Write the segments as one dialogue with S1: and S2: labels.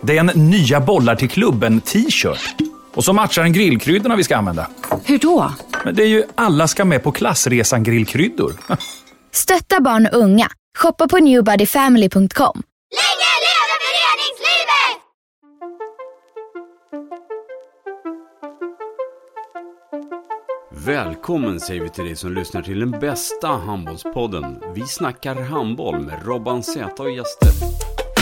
S1: Det är en nya bollar till klubben-t-shirt. Och så matchar den grillkryddorna vi ska använda.
S2: Hur då?
S1: Men det är ju alla ska med på klassresan grillkryddor.
S3: Stötta barn och unga. Shoppa på newbodyfamily.com.
S4: Länge leve föreningslivet!
S5: Välkommen säger vi till dig som lyssnar till den bästa handbollspodden. Vi snackar handboll med Robban Z och gäster.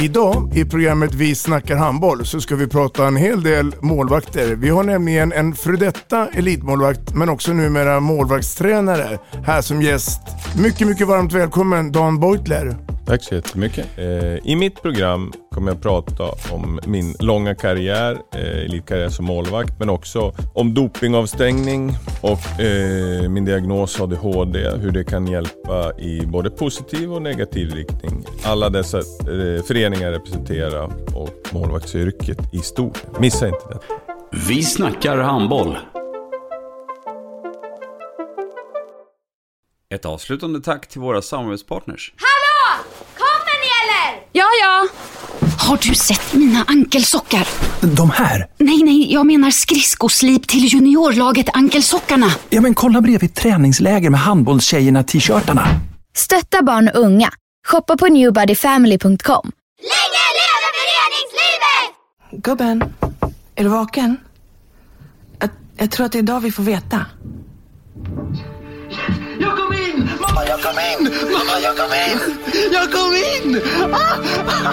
S6: Idag i programmet Vi snackar handboll så ska vi prata en hel del målvakter. Vi har nämligen en före detta elitmålvakt men också numera målvaktstränare här som gäst. Mycket, mycket varmt välkommen Dan Beutler.
S7: Tack så jättemycket. Eh, I mitt program kommer jag prata om min långa karriär, eh, elitkarriär som målvakt, men också om dopingavstängning och eh, min diagnos ADHD, hur det kan hjälpa i både positiv och negativ riktning. Alla dessa eh, föreningar representera och målvaktsyrket i stort. Missa inte det.
S5: Vi snackar handboll. Ett avslutande tack till våra samarbetspartners.
S4: Hallå! Kommer ni eller?
S3: Ja, ja.
S2: Har du sett mina ankelsockar?
S1: De här?
S2: Nej, nej, jag menar skridskoslip till juniorlaget Ankelsockarna.
S1: Ja, men kolla bredvid träningsläger med handbollstjejerna-t-shirtarna.
S3: Stötta barn och unga. Shoppa på newbodyfamily.com.
S4: Länge leve föreningslivet!
S8: Gubben, är du vaken? Jag, jag tror att det är idag vi får veta.
S9: Jag kom in! Mamma, jag kom in! Mamma, jag kom in! Jag kom in! Ah!